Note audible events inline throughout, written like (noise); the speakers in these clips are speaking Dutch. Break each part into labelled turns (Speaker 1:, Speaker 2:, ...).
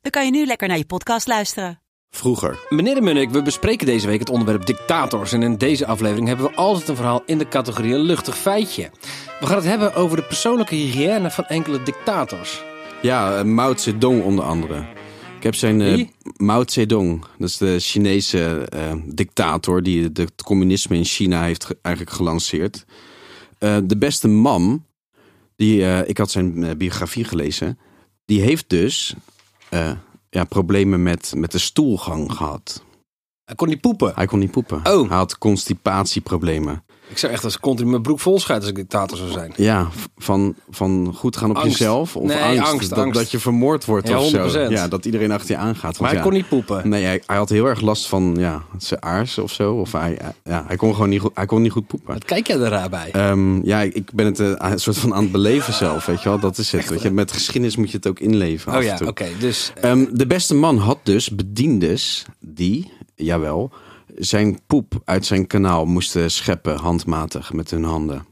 Speaker 1: dan kan je nu lekker naar je podcast luisteren.
Speaker 2: Vroeger.
Speaker 3: Meneer de Munnik, we bespreken deze week het onderwerp dictators. En in deze aflevering hebben we altijd een verhaal in de categorie een luchtig feitje. We gaan het hebben over de persoonlijke hygiëne van enkele dictators.
Speaker 2: Ja, eh, Mao Zedong onder andere. Ik heb zijn... eh,
Speaker 3: Wie?
Speaker 2: Mao Zedong. Dat is de Chinese eh, dictator die het- het communisme in China heeft ge- eigenlijk gelanceerd. Eh, de beste man, die, eh, ik had zijn eh, biografie gelezen, die heeft dus eh, ja, problemen met, met de stoelgang gehad.
Speaker 3: Hij kon niet poepen.
Speaker 2: Hij kon niet poepen.
Speaker 3: Oh.
Speaker 2: Hij had constipatieproblemen.
Speaker 3: Ik zou echt als continu mijn broek vol scheiden als ik dictator zou zijn.
Speaker 2: Ja, v- van, van goed gaan op
Speaker 3: Angst.
Speaker 2: jezelf of
Speaker 3: Nee,
Speaker 2: angst,
Speaker 3: angst,
Speaker 2: dat,
Speaker 3: angst.
Speaker 2: dat je vermoord wordt
Speaker 3: Ja,
Speaker 2: of zo.
Speaker 3: 100%.
Speaker 2: Ja, dat iedereen achter je aangaat.
Speaker 3: Maar
Speaker 2: Want
Speaker 3: hij
Speaker 2: ja,
Speaker 3: kon niet poepen.
Speaker 2: Eh. Nee, hij, hij had heel erg last van ja, zijn aars of zo. Of hij, eh, ja, hij kon gewoon niet goed, hij kon niet goed poepen.
Speaker 3: Wat kijk jij daar raar bij?
Speaker 2: Ehm, ja, ik ik ben het eh, een soort van aan het beleven zelf, weet je wel. Dat is het. Weet je, met geschiedenis moet je het ook inleven.
Speaker 3: eh. oh
Speaker 2: af
Speaker 3: ja,
Speaker 2: en
Speaker 3: oké.
Speaker 2: toe.
Speaker 3: dus eh,
Speaker 2: Ehm, de beste man had dus bediendes die, jawel, zijn poep uit zijn kanaal moesten scheppen handmatig met hun handen.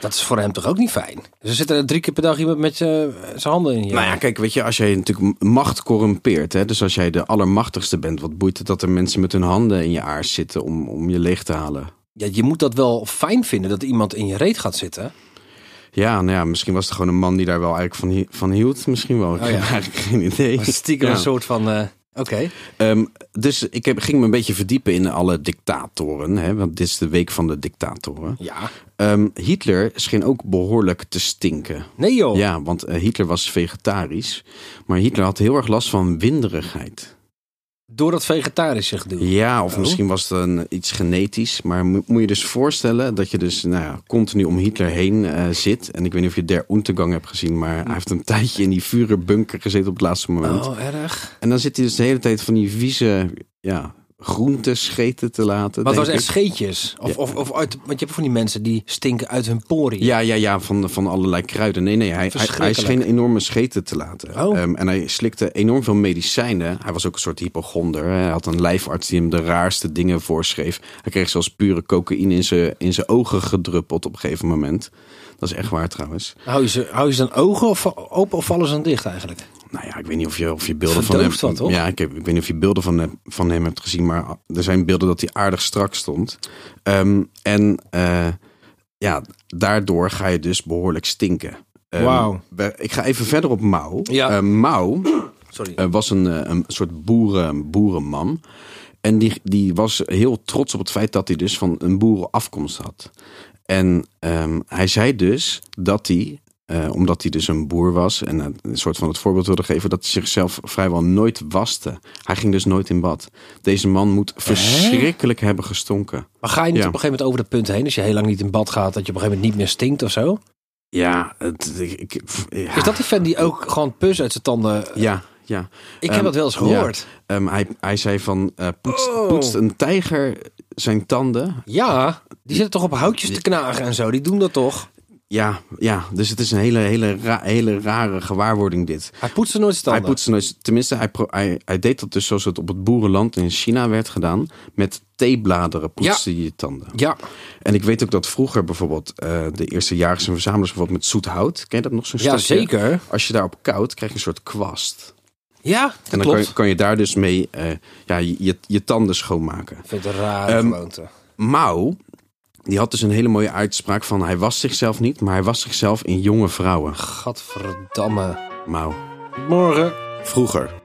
Speaker 3: dat is voor hem toch ook niet fijn? Dus er zit er drie keer per dag iemand met je- zijn handen in je.
Speaker 2: Nou ja, kijk, weet je, als jij natuurlijk m- macht corrumpeert, hè, dus als jij de allermachtigste bent, wat boeit het dat er mensen met hun handen in je aars zitten om, om je leeg te halen?
Speaker 3: Ja, je moet dat wel fijn vinden dat iemand in je reet gaat zitten.
Speaker 2: Ja, nou ja, misschien was het gewoon een man die daar wel eigenlijk van, hi- van hield. Misschien wel. Ik
Speaker 3: Oh ja.
Speaker 2: heb eigenlijk geen idee.
Speaker 3: Maar
Speaker 2: (laughs)
Speaker 3: Stiekem
Speaker 2: Ja.
Speaker 3: een soort van... eh, oké.
Speaker 2: Ehm, dus ik heb, ging me een beetje verdiepen in alle dictatoren. Hè, want dit is de week van de dictatoren.
Speaker 3: Ja.
Speaker 2: Ehm, Hitler scheen ook behoorlijk te stinken.
Speaker 3: Nee joh.
Speaker 2: Ja, want eh, Hitler was vegetarisch. Maar Hitler had heel erg last van winderigheid.
Speaker 3: Door dat vegetarische gedoe.
Speaker 2: Ja, of
Speaker 3: Oh.
Speaker 2: misschien was het een, iets genetisch. Maar mo- moet je dus voorstellen dat je dus nou ja, continu om Hitler heen eh, zit. En ik weet niet of je Der Untergang hebt gezien, maar hij heeft een (laughs) tijdje in die vurenbunker gezeten op het laatste moment.
Speaker 3: Oh, erg.
Speaker 2: En dan zit hij dus de hele tijd van die vieze ja, groenten scheten te laten.
Speaker 3: Maar het was
Speaker 2: denk
Speaker 3: echt
Speaker 2: ik.
Speaker 3: scheetjes. Of,
Speaker 2: Ja.
Speaker 3: of, of uit, want je hebt van die mensen die stinken uit hun poriën.
Speaker 2: Ja, ja, ja, van, van allerlei kruiden. Nee, nee, hij, hij, hij is
Speaker 3: Verschrikkelijk.
Speaker 2: geen enorme scheten te laten.
Speaker 3: Oh.
Speaker 2: Ehm, en hij slikte enorm veel medicijnen. Hij was ook een soort hypochonder. hè. Hij had een lijfarts die hem de raarste dingen voorschreef. Hij kreeg zelfs pure cocaïne in zijn, in zijn ogen gedruppeld op een gegeven moment. Dat is echt waar trouwens.
Speaker 3: Hou, je ze, hou je ze dan ogen of, open of vallen ze dan dicht eigenlijk?
Speaker 2: Nou ja, ik weet niet of je, of je beelden van hem...
Speaker 3: Verdoofd wat, hoor.
Speaker 2: Ja, ik, heb, ik weet niet of je beelden van, hem- van hem hebt gezien. Maar er zijn beelden dat hij aardig strak stond. Ehm, en eh, ja, daardoor ga je dus behoorlijk stinken. Ehm,
Speaker 3: Wauw.
Speaker 2: we- Ik ga even verder op Mao.
Speaker 3: Ja.
Speaker 2: Eh, Mao
Speaker 3: Sorry.
Speaker 2: eh, was een, eh, een soort boeren, boerenman. En die, die was heel trots op het feit dat hij dus van een boerenafkomst had. En ehm, hij zei dus dat hij, eh, omdat hij dus een boer was en eh, een soort van het voorbeeld wilde geven, dat hij zichzelf vrijwel nooit waste. Hij ging dus nooit in bad. Deze man moet verschrikkelijk hebben gestonken.
Speaker 3: Maar ga je niet
Speaker 2: Ja.
Speaker 3: op een gegeven moment over dat punt heen? Als je heel lang niet in bad gaat, dat je op een gegeven moment niet meer stinkt of zo?
Speaker 2: Ja, het, ik, ik- pff, ja.
Speaker 3: Is dat die fan die ook gewoon pus uit zijn tanden...
Speaker 2: Ja, ja.
Speaker 3: Ik heb
Speaker 2: Ehm,
Speaker 3: dat wel eens
Speaker 2: ja.
Speaker 3: gehoord.
Speaker 2: Ehm, hij, hij zei van, eh, poetst,
Speaker 3: Oh.
Speaker 2: poetst een tijger zijn tanden?
Speaker 3: Ja. die zitten toch op houtjes te knagen en zo. Die doen dat toch?
Speaker 2: Ja, ja, dus het is een hele, hele, ra- hele rare gewaarwording dit.
Speaker 3: Hij poetst er nooit zijn
Speaker 2: Hij
Speaker 3: tanden.
Speaker 2: poetste nooit, tenminste, hij, pro- hij, hij deed dat dus zoals het op het boerenland in China werd gedaan. Met theebladeren poetste je je tanden.
Speaker 3: Ja.
Speaker 2: En ik weet ook dat vroeger bijvoorbeeld eh, de eerste jagers en verzamelaars bijvoorbeeld met zoet hout. Ken je dat nog zo'n
Speaker 3: Ja,
Speaker 2: stukje?
Speaker 3: zeker.
Speaker 2: Als je daarop koudt, krijg je een soort kwast.
Speaker 3: Ja, dat
Speaker 2: En dan kan
Speaker 3: klopt.
Speaker 2: je, kan je daar dus mee eh, ja, je, je, je tanden schoonmaken.
Speaker 3: Ik vind het een rare
Speaker 2: Ehm,
Speaker 3: gewoonte.
Speaker 2: Mao, die had dus een hele mooie uitspraak van hij was zichzelf niet, maar hij was zichzelf in jonge vrouwen.
Speaker 3: Gadverdamme.
Speaker 2: Mao.
Speaker 3: Morgen.
Speaker 2: Vroeger.